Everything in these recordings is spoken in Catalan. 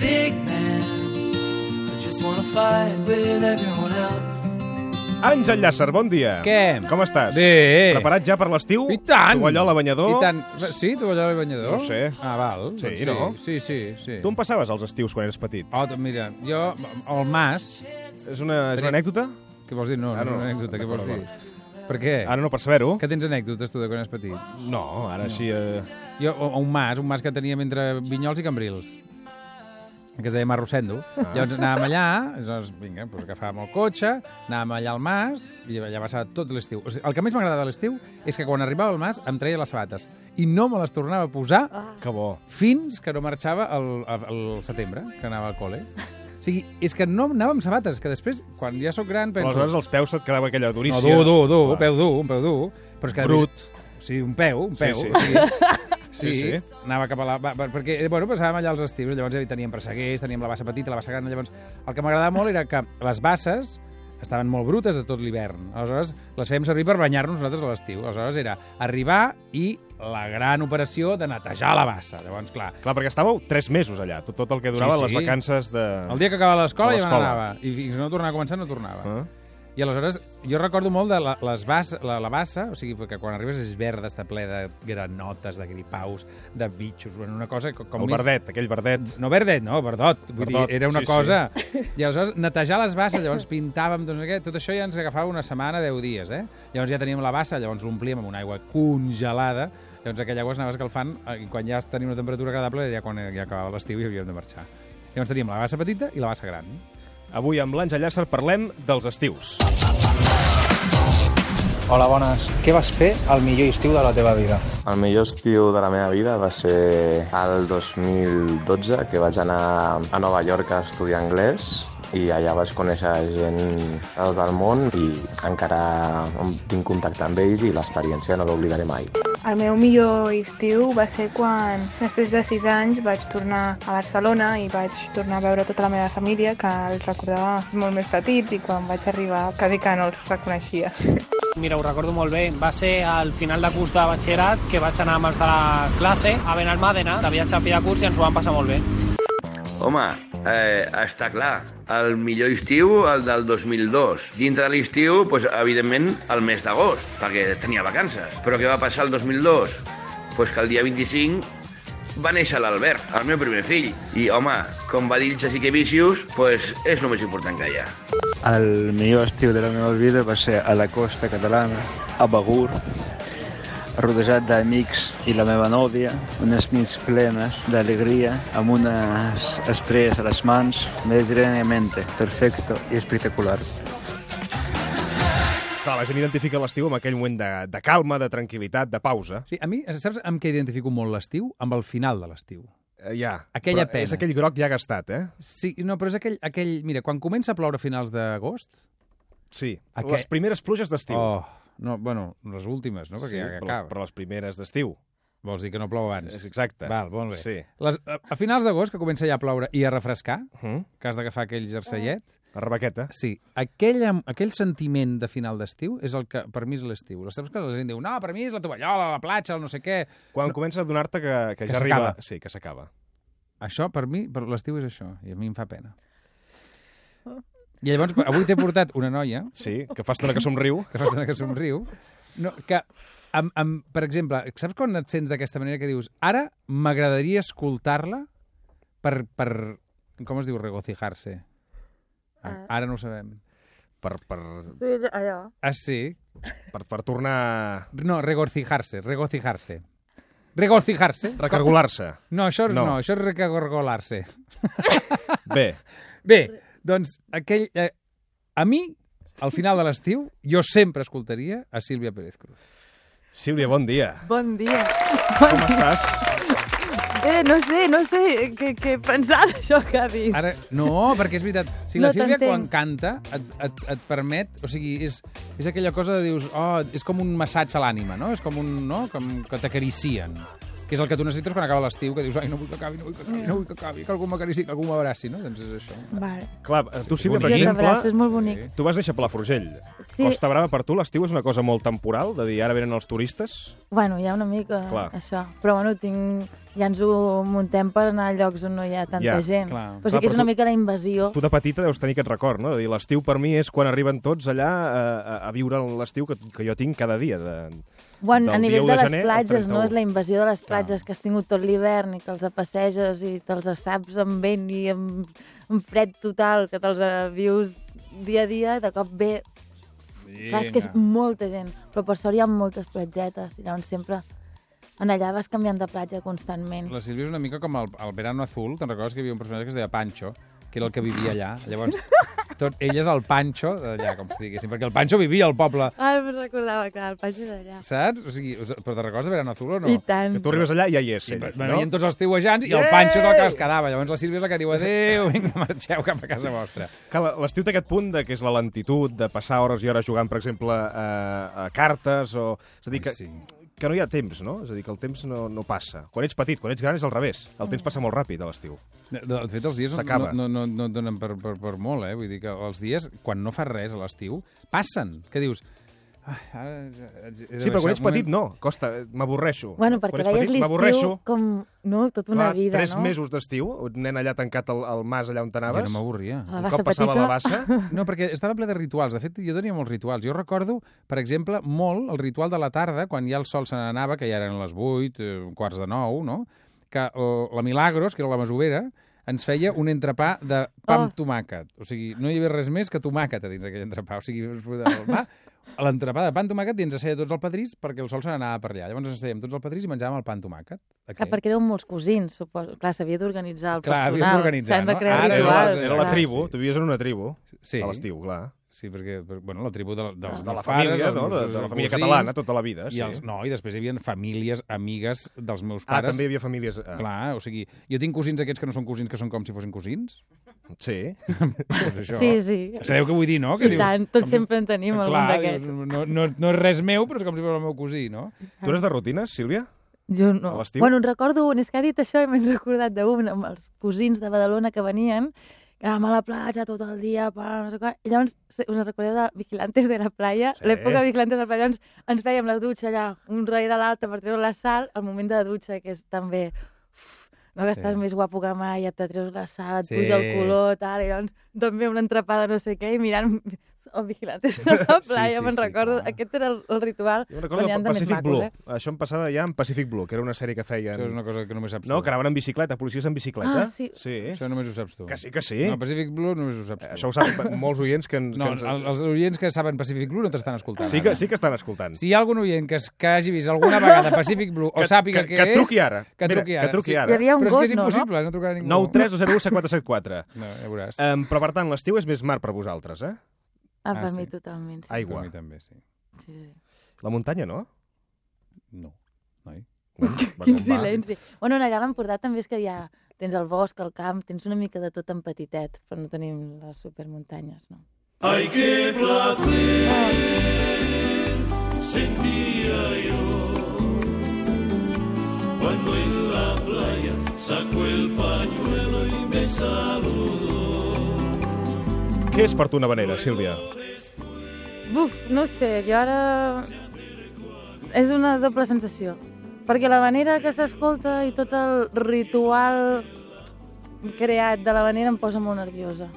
big man. I just wanna fight with everyone else. Àngel Llàcer, bon dia. Què? Com estàs? Bé. Preparat ja per l'estiu? I tant! Tovallola, banyador? I tant. Sí, tovallola i banyador? No ho sé. Ah, val. Sí, doncs sí no? Sí, sí, sí. Tu en passaves els estius quan eres petit? Oh, doncs mira, jo, el Mas... És una, és una anècdota? Què vols dir? No, Ah, no, no, és una anècdota, què vols dir? d'acord, Per què? Ara no, per saber-ho. Que tens anècdotes, tu, de quan eres petit? No, ara així... Eh... Jo, o- un mas, un mas que teníem entre Vinyols i Cambrils que es deia Marrocendo. Ah. Llavors anàvem allà, llavors, vinga, doncs agafàvem el cotxe, anàvem allà al mas, i allà passava tot l'estiu. O sigui, el que més m'agradava a l'estiu és que quan arribava al mas em treia les sabates i no me les tornava a posar Que bo. fins que no marxava al, al, al setembre, que anava al col·le. O sigui, és que no anava amb sabates, que després, quan ja sóc gran, Però penso... aleshores els peus se't quedava aquella No, durícia. dur, dur, dur, un Clar. peu dur, un peu dur. Però és que Brut. Sí, un peu, un Sí, peu. sí. O sigui, Sí, sí, sí, sí. anava cap a la... Va, va, perquè, eh, bueno, passàvem allà els estius, llavors ja hi teníem presseguers, teníem la bassa petita, la bassa gran, llavors el que m'agradava molt era que les basses estaven molt brutes de tot l'hivern. Aleshores, les fèiem servir per banyar-nos nosaltres a l'estiu. Aleshores, era arribar i la gran operació de netejar la bassa. Llavors, clar, Clar, perquè estàveu tres mesos allà, tot, tot el que durava Sí, les sí. vacances de... El dia que acabava A l'escola ja me l'escola. n'anava. I fins que no tornava a començar, no tornava. Ah. I aleshores, jo recordo molt de la, les bas, la, la bassa, o sigui, que quan arribes és verda, està ple de granotes, de gripaus, de bitxos, bueno, una cosa que com El més... verdet, aquell verdet. No verdet, no, verdot. Vull Verdot, dir, era una sí, cosa... I aleshores, netejar les basses, llavors pintàvem, doncs, aquest, tot això ja ens agafava una setmana, 10 dies, eh? Llavors ja teníem la bassa, llavors l'omplíem amb una aigua congelada, llavors aquella aigua s'anava escalfant, eh, i quan ja tenia una temperatura agradable, ja quan eh, ja acabava l'estiu i havíem de marxar. Llavors teníem la bassa petita i la bassa gran. Avui amb l'Àngel Llàcer parlem dels estius. Hola, bones. Què vas fer al millor estiu de la teva vida? El millor estiu de la meva vida va ser el 2012, que vaig anar a Nova York a estudiar anglès i allà vaig conèixer gent de tot el món i encara tinc contacte amb ells i l'experiència no l'oblidaré mai. El meu millor estiu va ser quan, després de sis anys, vaig tornar a Barcelona i vaig tornar a veure tota la meva família, que els recordava molt més petits i quan vaig arribar quasi que no els reconeixia. Mira, ho recordo molt bé. Va ser al final de curs de batxillerat que vaig anar amb els de la classe a Benalmàdena, de viatge a fi de curs, i ens ho vam passar molt bé. Home, eh, està clar, el millor estiu, el del 2002. Dintre de l'estiu, doncs, evidentment, el mes d'agost, perquè tenia vacances. Però què va passar el 2002? Doncs que el dia 25 va néixer l'Albert, el meu primer fill. I, home, com va dir el Jessica Vicius, doncs és el més important que hi ha. El millor estiu de la meva vida va ser a la costa catalana, a Begur, rodejat d'amics i la meva nòvia, unes nits plenes d'alegria, amb unes estrelles a les mans, mediterràniamente, perfecto i espectacular. Clar, la gent identifica l'estiu amb aquell moment de, de calma, de tranquil·litat, de pausa. Sí, a mi, saps amb què identifico molt l'estiu? Amb el final de l'estiu. Eh, ja. Aquella Però És pena. aquell groc ja gastat, eh? Sí, no, però és aquell, aquell... Mira, quan comença a ploure a finals d'agost... Sí. Aqu- Les primeres pluges d'estiu. Oh, no, bueno, les últimes, no? Perquè sí, ja però, acaba. però les primeres d'estiu. Vols dir que no plou abans? És exacte. Val, molt bé. Sí. Les, a a finals d'agost, que comença ja a ploure i a refrescar, Mm? que has d'agafar aquell jerseillet, La rebaqueta. sí, aquell, am- aquell sentiment de final d'estiu és el que per mi és l'estiu. Saps que la gent diu, no, per mi és la tovallola, la platja, el no sé què... Quan comença a donar-te que, que, Que ja arriba... s'acaba. Sí, que s'acaba. Això, per mi, per l'estiu és això, i a mi em fa pena. I llavors, avui t'he portat una noia, Sí, que fa estona que somriu. que fa estona que somriu, no, que, amb, amb, per exemple, saps quan et sents d'aquesta manera que dius ara m'agradaria escoltar-la per, per... Com es diu regocijar-se? Ah. Ara no ho sabem. Per, per, Allò. Ah, sí? per, per tornar a No, regocijar-se, regocijar-se. Regocijar-se? recargolar-se. No, això és, No. no. no, això és recagorgolar-se. Bé, Bé, doncs aquell... Eh, a mi, al final de l'estiu, jo sempre escoltaria a Sílvia Pérez Cruz. Sílvia, bon dia. Bon dia. Com estàs? Eh, no sé, no sé què, què pensar d'això que ha dit. Ara, no, perquè és veritat. O sigui, No la Sílvia, t'entenc. quan canta, et, et, et permet... O sigui, és, és aquella cosa de dius... Oh, és com un massatge a l'ànima, no? És com un... No? Com que t'acaricien. Que és el que tu necessites quan acaba l'estiu, que dius, ai, no vull que acabi, no vull que acabi, no vull que acabi, que algú m'acarici, que algú m'abraci, no? Doncs és això. Vale. Clar, eh, tu, Sílvia, per bonic. Jo exemple... és molt bonic. Tu vas néixer a Palafrugell. Sí. Sí. Costa Brava, per tu, l'estiu és una cosa molt temporal, de dir, ara venen els turistes? Bueno, hi ha una mica Clar. això. Però bueno, tinc ja ens ho muntem per anar a llocs on no hi ha tanta Ja, gent. clar. Però sí Clar, que és però una tu- mica la invasió. Tu de petita deus tenir aquest record, no? De dir, l'estiu per mi és quan arriben tots allà a, a, a viure l'estiu que, que jo tinc cada dia. De, Bueno, del a nivell 10 de, les gener al platges, no? 31. És la invasió de les platges que has tingut tot l'hivern i que els passeges i te'ls saps amb vent i amb, amb fred total, que te'ls eh, vius dia a dia i de cop ve... Clar, és que és molta gent, però per sort hi ha moltes platgetes i llavors sempre en allà vas canviant de platja constantment. La Sílvia és una mica com el, el Verano Azul, te'n recordes que hi havia un personatge que es deia Pancho, que era el que vivia allà. Llavors, tot, ell és el Pancho d'allà, com si diguéssim, perquè el Pancho vivia al poble, Ara me'n recordava, clar, el Pancho d'allà. saps? O sigui, us- però te'n recordes de Verano Azul o no? I tant. Que tu arribes allà i ja hi és, I, ell, no? no? Venien tots els teuejants i el Ei! Pancho és el que es quedava. Llavors la Sílvia és la que diu adéu, vinga, marxeu cap a casa vostra. Clar, l'estiu té aquest punt de que és la lentitud, de passar hores i hores jugant, per exemple, eh, a, a cartes, o... És a dir, que, sí. que no hi ha temps, no? És a dir, que el temps no, no passa. Quan ets petit, quan ets gran, és al revés. El temps passa molt ràpid a l'estiu. De, de de fet, els dies no, S'acaba. no, no, no et donen per, per, per molt, eh? Vull dir que els dies, quan no fas res a l'estiu, passen. Què dius? Ah, ara... Sí, Sí, però quan ets petit, no. Costa, eh, m'avorreixo. Bueno, quan perquè ets veies petit, l'estiu m'avorreixo. com, no?, tota una Clar, vida, tres no? mesos d'estiu, un nen allà tancat al, al mas allà on t'anaves. Jo no m'avorria. A la Un bassa cop passava petita. la bassa... No, perquè estava ple de rituals. De fet, jo tenia molts rituals. Jo recordo, per exemple, molt el ritual de la tarda, quan ja el sol se n'anava, que ja eren les 8, eh, quarts de 9, no? Que eh, la Milagros, que era la masovera, ens feia un entrepà de pa amb Oh. tomàquet. O sigui, no hi havia res més que tomàquet a dins d'aquell entrepà. O sigui, ens posava el mà, l'entrepà de pa amb tomàquet i ens asseia tots al pedrís perquè el sol se n'anava per allà. Llavors ens asseiem tots al pedrís i menjàvem el pa amb tomàquet. Clar, Ah, perquè éreu molts cosins, suposo. Clar, s'havia d'organitzar el Clar, havíem personal. d'organitzar, S'han de no? crear Era Ara la, rituals. era la clar. tribu, tu vivies en una tribu. Sí. A l'estiu, clar. Sí, perquè, per- bueno, la tribu de, dels De meus la família, pares, els no? meus- De- de la els família cosins, catalana tota la vida, sí. I els, no, i després hi havia famílies, amigues dels meus Ah, pares. també hi havia famílies... Ah. Clar, o sigui, jo tinc cosins aquests que no són cosins, que són com si fossin cosins. Sí. pues això. Sí, sí. Sabeu què vull dir, no? Que I tant, tots sempre en tenim algun Clar, d'aquests. dius, No, no, no és res meu, però és com si fos el meu cosí, no? Tu eres de rutines, Sílvia? Jo no. A l'estiu? Bueno, en recordo un, és que ha dit això i m'he recordat d'un, amb els cosins de Badalona que venien, que anàvem a la platja tot el dia, pa, no sé què, i llavors, se- us en recordeu de Vigilantes de la Playa? Sí. L'època de Vigilantes de la Playa, llavors ens fèiem la dutxa allà, un darrere l'altre per treure la sal, el moment de la dutxa, que és també... uf, No, que Sí. estàs més guapo que mai, et treus la sal, et Sí. puja el color, tal, i llavors també una entrepada no sé què, i mirant o vigilantes de la Sí, playa, sí, me'n sí, recordo. clar. Aquest era el, el ritual. Jo me'n recordo però n'hi ha de de més Pacific macos, Blue. eh? Això em passava ja en Pacific Blue, que era una sèrie que feien... Això és una cosa que només saps No, tu. que anaven en bicicleta, policies en bicicleta. Ah, sí. Sí. Això només ho saps tu. Que sí, que sí. No, Pacific Blue només ho saps tu. Això ho saben molts oients que ens... No, que ens... el- els oients que saben Pacific Blue no t'estan escoltant. Sí, que, ara. sí que estan escoltant. Si hi ha algun oient que, es- que hagi vist alguna vegada Pacific Blue o Que- sàpiga que- què que és... truqui ara. Que Mira, truqui que ara. truqui Sí, ara. Hi havia un Però és que gos, és no? impossible, no, trucarà ningú. 9 3 0 774. No, ja veuràs. Um, però, per tant, l'estiu és més mar per vosaltres, eh? Ah, per Ah, mi sí. Ah, totalment. Sí. Aigua. Per mi també, sí. sí, sí. La muntanya, no? No. Noi. Bueno, va, com Quin va. silenci. Bueno, allà a l'Empordà també és que hi ha... Tens el bosc, el camp, tens una mica de tot en petitet, però no tenim les supermuntanyes, no? Què és per tu una vanera, Sílvia? Buf, no ho sé, jo ara... És una doble sensació. Perquè la manera que s'escolta i tot el ritual creat de la manera em posa molt nerviosa.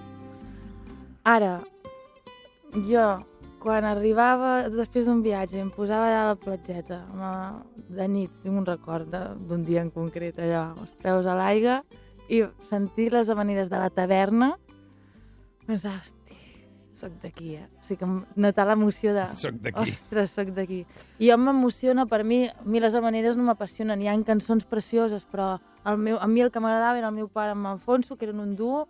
Ara, jo, quan arribava després d'un viatge, em posava allà a la platgeta, amb, eh, de nit, tinc un record de- d'un dia en concret, allà, amb els peus a l'aigua, i sentir les amanides de la taverna, pensava, hosti, soc d'aquí, eh? O sigui, que em notar l'emoció de... Soc d'aquí. Ostres, soc d'aquí. I jo m'emociona, per mi, a mi les amaneres no m'apassionen. Hi ha cançons precioses, però el meu, a mi el que m'agradava era el meu pare amb Alfonso, que eren un duo.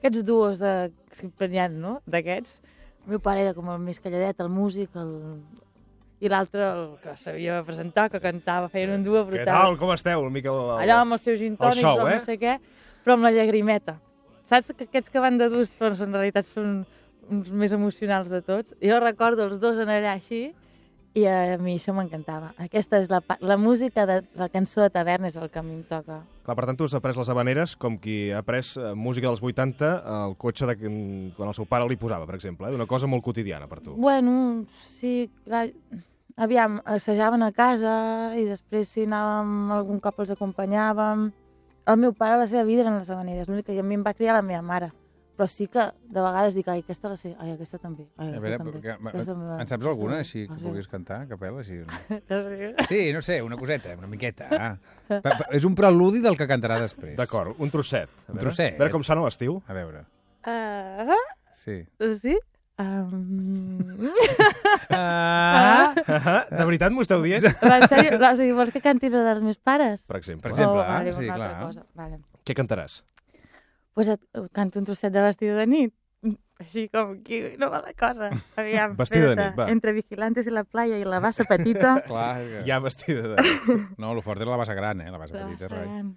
Aquests duos de... sempre n'hi ha, no?, d'aquests. El meu pare era com el més calladet, el músic, el... I l'altre, el que sabia presentar, que cantava, feien un duo Què brutal. tal? Com esteu? El Miquel... Allà amb els seus gintònics, show, el, el eh? no sé què, però amb la llagrimeta. Saps que aquests que van de durs, però en realitat són uns més emocionals de tots? Jo recordo els dos en allà així, i a mi això m'encantava. Aquesta és la, pa- la música de la cançó de taverna és el que a mi em toca. Clar, per tant, tu has après les habaneres com qui ha après eh, música dels 80 al cotxe de... quan el seu pare li posava, per exemple. Eh? Una cosa molt quotidiana per tu. Bueno, sí, clar, aviam, assajaven a casa i després si anàvem algun cop els acompanyàvem. El meu pare, la seva vida eren les habaneres, l'únic que a mi em va criar la meva mare. Però sí que de vegades dic, ai, aquesta la sé, ai, aquesta també, ai, A aquesta veure, també. que, aquesta també va". en saps alguna, així, que Ah, sí. vulguis cantar, a capella? Així, no? No sé. Sí, no sé, una coseta, una miqueta. Ah. Pa, pa, és un preludi del que cantarà després. D'acord, un trosset. Un trosset. A veure com sona l'estiu. A veure, Ah, sí. sí? Um... Ah. Ah, de veritat m'ho esteu dient? Va, en sèrio? Va, o sigui, vols que canti la dels meus pares? Per exemple. Per exemple, oh, vale, ah, sí, una altra clar. Cosa. Vale. Què cantaràs? pues et, et canto un trosset de vestida de nit. mm, Així com aquí, no va la cosa. Aviam, Vestida de espera't, nit, va. Entre vigilantes i la playa i la bassa petita. Clar, que... Ja vestida de... No, lo fort era la bassa gran, eh? La bassa petita. Basta, Rai. gran.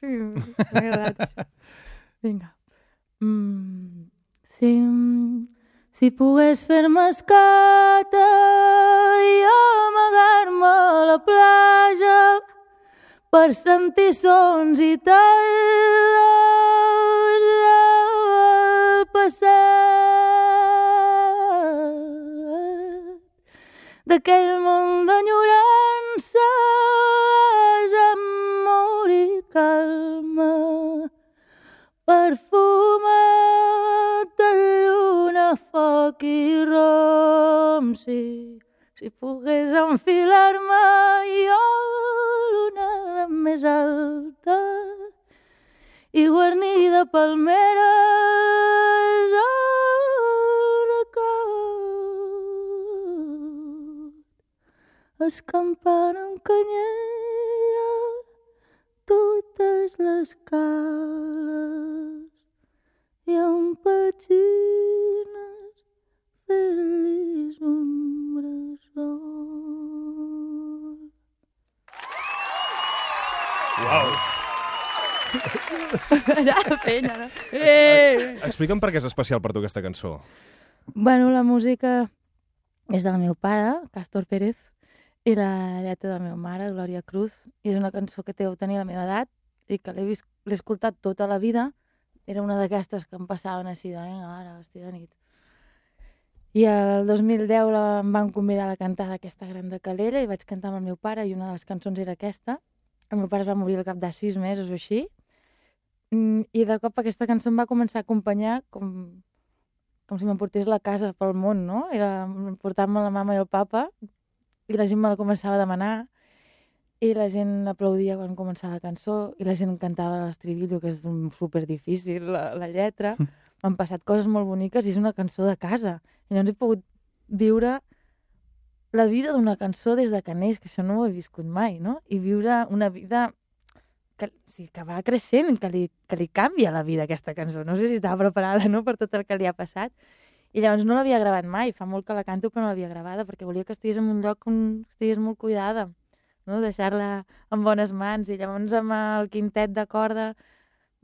Sí, m'ha agradat això. Vinga. Mm, si, si pogués fer-me escata i amagar-me a la platja per sentir sons i tardes del passat d'aquell món d'enyorança ja amor i calma perfumat de lluna, foc i rom si, si pogués enfilar-me jo a l'onada més alta i guarnir de palmeres el record escampant amb canyella totes les cales i amb petxines fer-lis un bressol. Uau! Allà, penya, no? Eh! Explica'm per què és especial per tu aquesta cançó. Bueno, la música és del meu pare, Castor Pérez, i la lletra de la meva mare, Glòria Cruz, i és una cançó que deu tenir la meva edat i que l'he vis- l'he escoltat tota la vida. Era una d'aquestes que em passaven així de, vinga, ara, hòstia, de nit. I el 2010 la, em van convidar a la cantada aquesta gran de Calera i vaig cantar amb el meu pare i una de les cançons era aquesta. El meu pare es va morir al cap de sis mesos o així. Mm, I de cop aquesta cançó em va començar a acompanyar com com si m'emportés la casa pel món, no? Era portar-me la mama i el papa i la gent me la començava a demanar i la gent aplaudia quan començava la cançó i la gent cantava l'estribillo, que és un superdifícil, la, la lletra. M'han passat coses molt boniques i és una cançó de casa. I llavors he pogut viure la vida d'una cançó des de que neix, que això no ho he viscut mai, no? I viure una vida que, o sigui, que va creixent, que li, que li canvia la vida aquesta cançó. No sé si estava preparada no? per tot el que li ha passat. I llavors no l'havia gravat mai, fa molt que la canto però no l'havia gravada perquè volia que estigués en un lloc on estigués molt cuidada, no? deixar-la en bones mans. I llavors amb el quintet de corda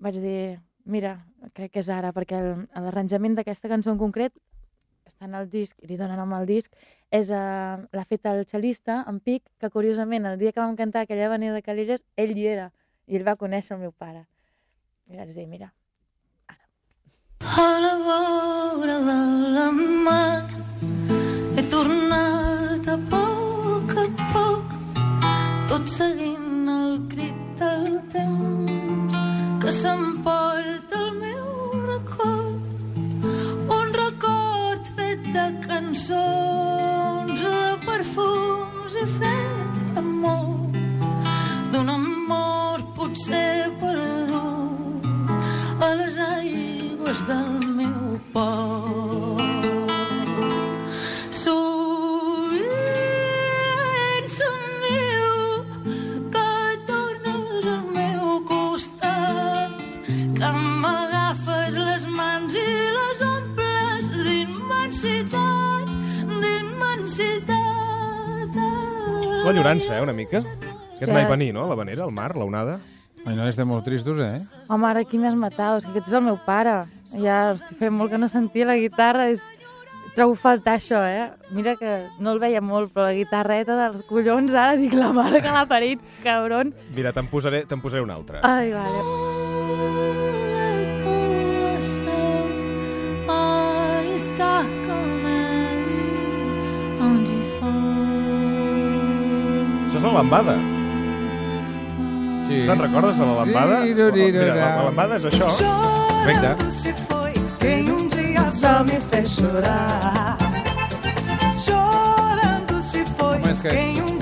vaig dir, mira, crec que és ara, perquè el- l'arranjament d'aquesta cançó en concret està en el disc, i li dona nom al disc, és uh, l'ha fet el xalista, en Pic, que curiosament el dia que vam cantar aquella avenida de Calelles, ell hi era i el va conèixer el meu pare. I vaig dir, mira, A la vora de la mar he tornat a poc a poc tot seguint el crit del temps que s'emporta el meu record un record fet de cançons de perfums i fet d'amor d'un amor potser perdut a les aigües del meu port. Sou ets el meu que tornes al meu costat, que m'agafes les mans i les omples d'immensitat, d'immensitat. És la llorança, eh, una mica? Aquest anar i venir, no? La vanera, el mar, l'onada. Ai, no, estem molt tristos, eh? home, ara aquí m'has matat, és que aquest és el meu pare. Ja, hosti, feia molt que no sentia la guitarra, és... Trobo a faltar això, eh? Mira que no el veia molt, però la guitarreta dels collons, ara dic la mare que l'ha parit, cabron. Mira, te'n posaré, te'n posaré una altra. Ai, vale. Ai, está com ele onde for. la lambada. Sí. Te'n recordes de la lambada? Sí, ru, ri, ru, Mira, la, ra. la lambada és això. Perfecte. se foi quem um dia só me fez chorar. Chorando se foi Mas é que- quem um dia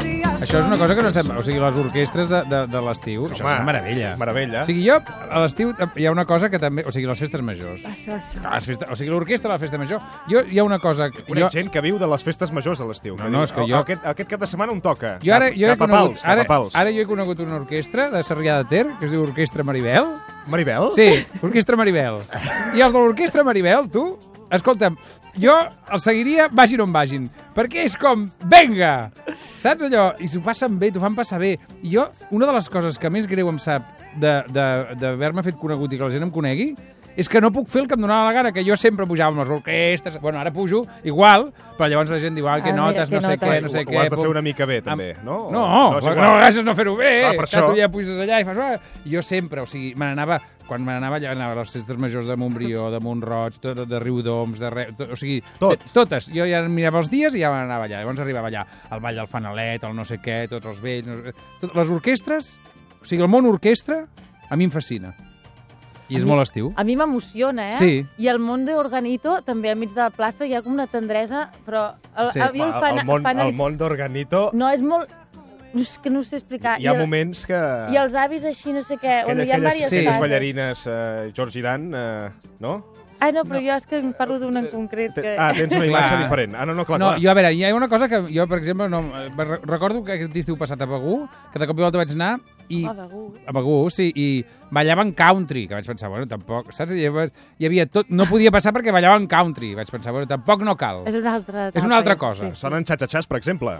Això és una cosa que no estem... O sigui, les orquestres de, de, de l'estiu, això és una meravella. meravella. O sigui, jo, a l'estiu eh, hi ha una cosa que també... O sigui, les festes majors. Això, això. No, les festes, o sigui, l'orquestra de la festa major. Jo, hi ha una cosa... Que, Conec jo, gent que viu de les festes majors de l'estiu. No, que no, diu, és que "Oh, jo- Aquest, aquest cap de setmana un toca. jo ara, cap, jo he cap a conegut, pals, ara, cap a pals. ara jo he conegut una orquestra de Sarrià de Ter, que es diu Orquestra Maribel. Maribel? Sí, Orquestra Maribel. I els de l'Orquestra Maribel, tu, escolta'm, jo els seguiria vagin on vagin, perquè és com, venga! Saps allò? I s'ho passen bé, t'ho fan passar bé. I jo, una de les coses que més greu em sap de- de- d'haver-me fet conegut i que la gent em conegui, és que no puc fer el que em donava la gana, que jo sempre pujava amb les orquestres, bueno, ara pujo igual, però llavors la gent diu, ah, que Ah, mira, notes, que no sé notes. què, no sé Ho- ho què... has de fer pum. una mica bé, també, Am- no? No, O- Oh. no, és però igual. no, a vegades no fer-ho bé. Ah, per Clar, això. Tu ja puges allà i fas... "Ah". Jo sempre, o sigui, me n'anava... Quan me n'anava allà, anava a les festes majors de Montbrió, de Montroig, de, de, de Riudoms, de... Re... to- O sigui, tot. totes. Jo ja mirava els dies i ja me n'anava allà. Llavors arribava allà el ball del Fanalet, el no sé què, tots els vells... No... sé- Tot, les orquestres... O sigui, el món orquestra a mi em fascina. I és mi- molt estiu. A mi m'emociona, eh? Sí. I el món d'Organito, també a mig de la plaça, hi ha com una tendresa, però... El, Sí. a mi El- fan, el món- fan- el món d'Organito... No, és molt... És que no ho sé explicar. Hi ha I el- moments que... I els avis així, no sé què, on hi ha aquelles, diverses sí. fases. ballarines, eh, George i Dan, eh, no? Ah, no, però no. jo és que em parlo d'una en concret. Que... Ah, tens una imatge diferent. Ah, no, no, clar, no, clar. Jo, a veure, hi ha una cosa que jo, per exemple, no, eh, re- recordo que aquest estiu passat a Begú, que de cop i volta vaig anar i... Ah, Begú. A Begú, sí, i ballaven country, que vaig pensar, bueno, tampoc, saps? I llavors hi havia tot... No podia passar perquè ballaven country. Vaig pensar, bueno, tampoc no cal. És una altra etapa. eh? És una altra cosa. Sí. Sonen xatxatxats, per exemple.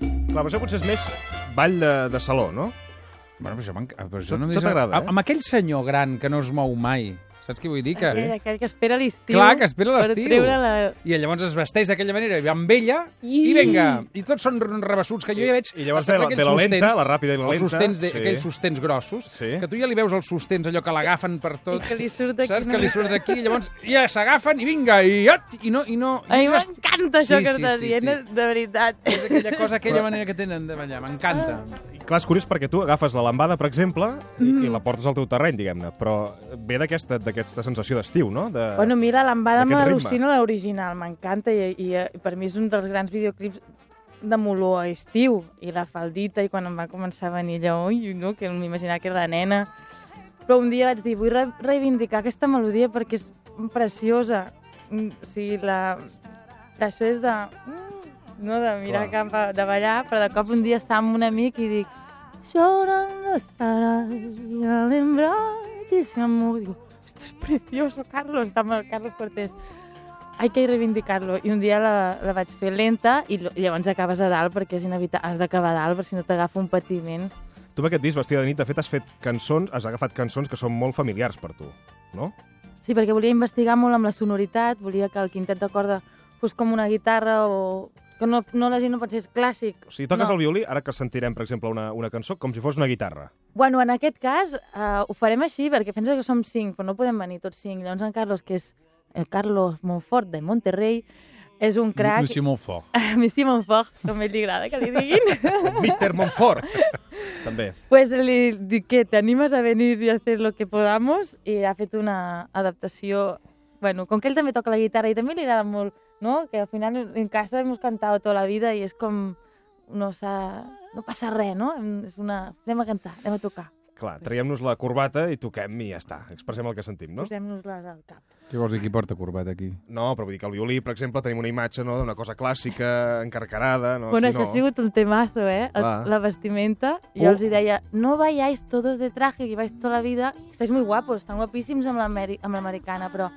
Clar, però això potser és més ball de, de saló, no? Bueno, però això m'enca- però Això, això no això t'agrada, eh? Amb aquell senyor gran que no es mou mai, saps què vull dir? Que... Sí. Aquell que espera l'estiu. Clar, que espera Per l'estiu. treure la... I llavors es vesteix d'aquella manera, i va amb ella, i, I- vinga. I tots són rebessuts, que jo ja veig... I llavors saps ve la- aquells ve la lenta, sostens, la ràpida i la lenta, Els sostens, de, sí. sí. aquells sostens grossos, sí. que tu ja li veus els sostens, allò que l'agafen per tot. I que li surt d'aquí Saps una que li mica. surt d'aquí, i llavors ja s'agafen, i vinga, i, ot, i no... I no A mi i just- m'encanta això Sí, que sí, estàs sí, dient, eh? sí. de veritat. És aquella cosa, aquella manera que tenen de ballar, m'encanta. I clar, és curiós perquè tu agafes la lambada, per exemple, i, i la portes al teu terreny, diguem-ne, però ve d'aquesta d'aquesta sensació d'estiu, no? De... Bueno, mira, l'Ambada d'aquest ritme. m'al·lucina l'original, m'encanta, i, i, i per mi és un dels grans videoclips de Moló a estiu, i la faldita, i quan em va començar a venir allò, ui, no, que m'imaginava que era la nena. Però un dia vaig dir, vull re reivindicar aquesta melodia perquè és preciosa. Mm, O sigui, la... això és de... mm, No, de mirar Clar. cap a... de ballar, però de cop un dia estava amb un amic i dic llorando estarás y al embrague se amó. Digo, esto es precioso, Carlos, dame al Carlos Cortés. Hay que reivindicar-lo. I un dia la, la vaig fer lenta i lo- i llavors acabes a dalt perquè és inevitable. Has d'acabar a dalt per si no t'agafa un patiment. Tu amb aquest disc, Vestida de nit, de fet, has fet cançons, has agafat cançons que són molt familiars per tu, no? Sí, perquè volia investigar molt amb la sonoritat, volia que el quintet de corda fos com una guitarra o... que no, no la gent no pensés clàssic. O sigui, toques no. no. el violí, ara que sentirem, per exemple, una, una cançó, com si fos una guitarra. Bueno, en aquest cas eh, ho farem així, perquè pensa que som cinc, però no podem venir tots cinc. Llavors en Carlos, que és el Carlos Montfort de Monterrey, és un crac... Monsieur Montfort. Monsieur Montfort, com ell li agrada que li diguin. Mr. Montfort, també. pues li dic que t'animes a venir i a fer lo que podamos, i ha fet una adaptació... Bueno, com que ell també toca la guitarra i també li agrada molt, no? Que al final en casa hemos cantado toda la vida i és com... No, s'ha- no passa res, no? És una... Anem a cantar, anem a tocar. Clar, traiem-nos la corbata i toquem i ja està. Expressem el que sentim, no? Posem-nos-les al cap. Què vols dir, qui porta corbat aquí? No, però vull dir que el violí, per exemple, tenim una imatge no, d'una cosa clàssica, encarcarada... No, Bueno, Aquí això no. ha sigut un temazo, eh? El, Va. la vestimenta. Uh. I jo els hi deia, no vayáis todos de traje, que vais toda la vida. Estáis muy guapos, estan guapíssims amb l'ameri- amb l'americana, però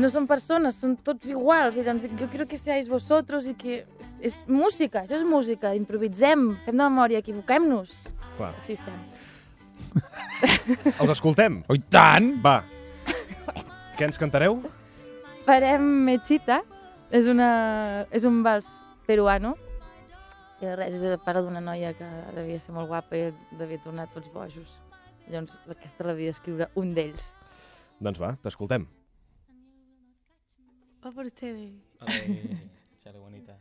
no són persones, són tots iguals. I doncs dic, jo quiero que seáis vosotros i que... És, és música, això és música. Improvisem, fem de memòria, equivoquem-nos. Clar. Així estem. Els escoltem? Oh, tant! Va. Què ens cantareu? Farem Mechita, és, una, és un vals peruano, i res, és el pare d'una noia que devia ser molt guapa i devia tornar tots bojos. Llavors, aquesta la havia d'escriure un d'ells. Doncs va, t'escoltem. Va por ustedes. A ver, chale bonita.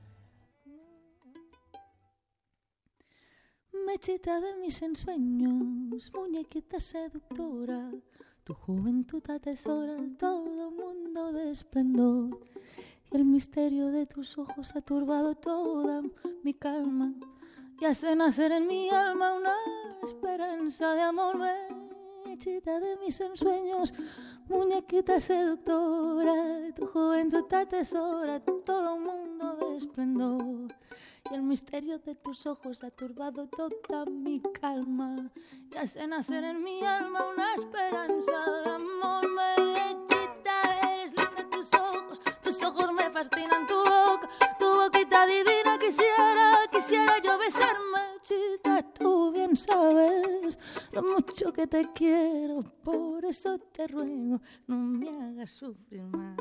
Mechita de mis ensueños, muñequita seductora, tu juventud atesora todo mundo de esplendor. Y el misterio de tus ojos ha turbado toda mi calma y hace nacer en mi alma una esperanza de amor. Mechita de mis ensueños, muñequita seductora, tu juventud atesora todo mundo de esplendor y el misterio de tus ojos ha turbado toda mi calma y hace nacer en mi alma una esperanza de amor me hechita eres linda tus ojos tus ojos me fascinan tu boca tu boquita divina quisiera quisiera yo besarme hechita tú bien sabes lo mucho que te quiero por eso te ruego no me hagas sufrir más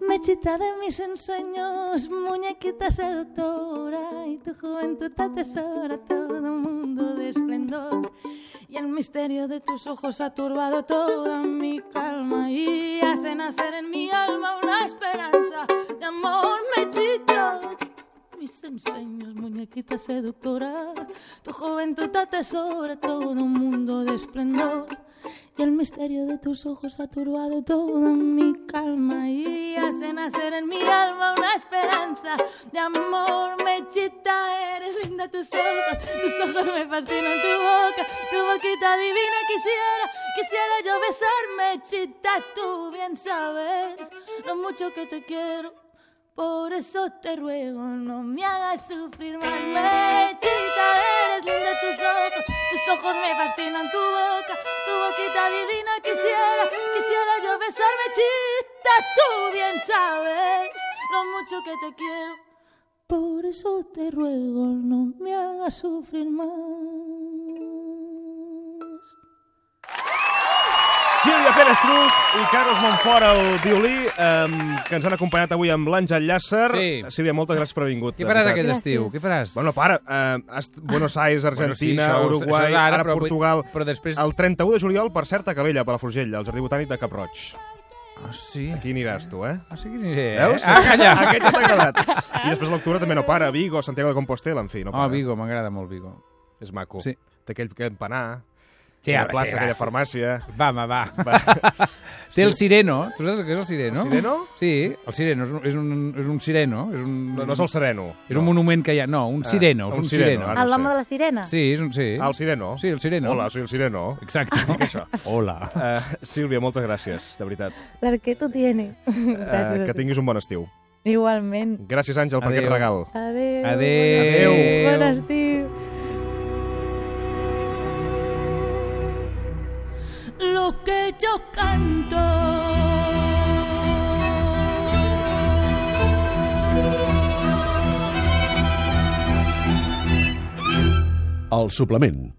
Mechita de mis ensueños, muñequita seductora, y tu juventud atesora todo mundo de esplendor. Y el misterio de tus ojos ha turbado toda mi calma y hace nacer en mi alma una esperanza de amor, mechita. de Mis ensueños, muñequita seductora, tu juventud atesora todo mundo de esplendor. Y el misterio de tus ojos ha turbado toda mi calma y hace nacer en mi alma una esperanza de amor. Mechita, eres linda tus ojos, tus ojos me fascinan, tu boca, tu boquita divina quisiera, quisiera yo besarme. Chita, tú bien sabes lo mucho que te quiero. Por eso te ruego, no me hagas sufrir más. Mechita, eres linda tus ojos, tus ojos me fascinan, tu boca, tu boquita divina quisiera, quisiera yo besarme, chita, tú bien sabes lo mucho que te quiero. Por eso te ruego, no me hagas sufrir más. Sílvia Pérez Cruz i Carlos Monfort al violí, um, que ens han acompanyat avui amb l'Àngel Llàcer. Sí. Sílvia, moltes gràcies per haver vingut. Què faràs de veritat. aquest estiu? Què faràs? Bueno, para, eh, has, Buenos Aires, Argentina, això- bueno, això sí, és Uruguai, ara, ara, ara però vull- Portugal... però després- El 31 de juliol, per cert, a Calella, a Palafrugell, al Jardí Botànic de Caproig. Ah, sí? Aquí aniràs tu, eh? Ah, sí que aniré, eh? Veus? Ah, calla! Aquest ja t'ha agradat. I després l'octubre també no para, Vigo, Santiago de Compostela, en fi, no Oh, para. Vigo, m'agrada molt Vigo. És maco. Sí. Té aquell campanar, Sí, aquella home, plaça, sí, va, aquella sí, sí. farmàcia... Va, home, va. Va. Té el sireno. Tu saps què és el sireno? El sireno? Sí, el sireno. És un, és un, és un sireno. És un, No, no és el sereno. És un monument que hi ha... No, un Ah, sireno. és un un sireno, sireno. ara El home de la sirena? Sí, és un... Sí. Ah, el sireno? Sí, el sireno. Hola, soy el sireno. Exacte. Això. Hola. Uh, Sílvia, moltes gràcies, de veritat. Per què tu tienes? Ah, Uh, que tinguis un bon estiu. Igualment. Gràcies, Àngel, per Adéu. aquest regal. Adéu. Adéu. Bon estiu. Lo que yo canto. El suplement.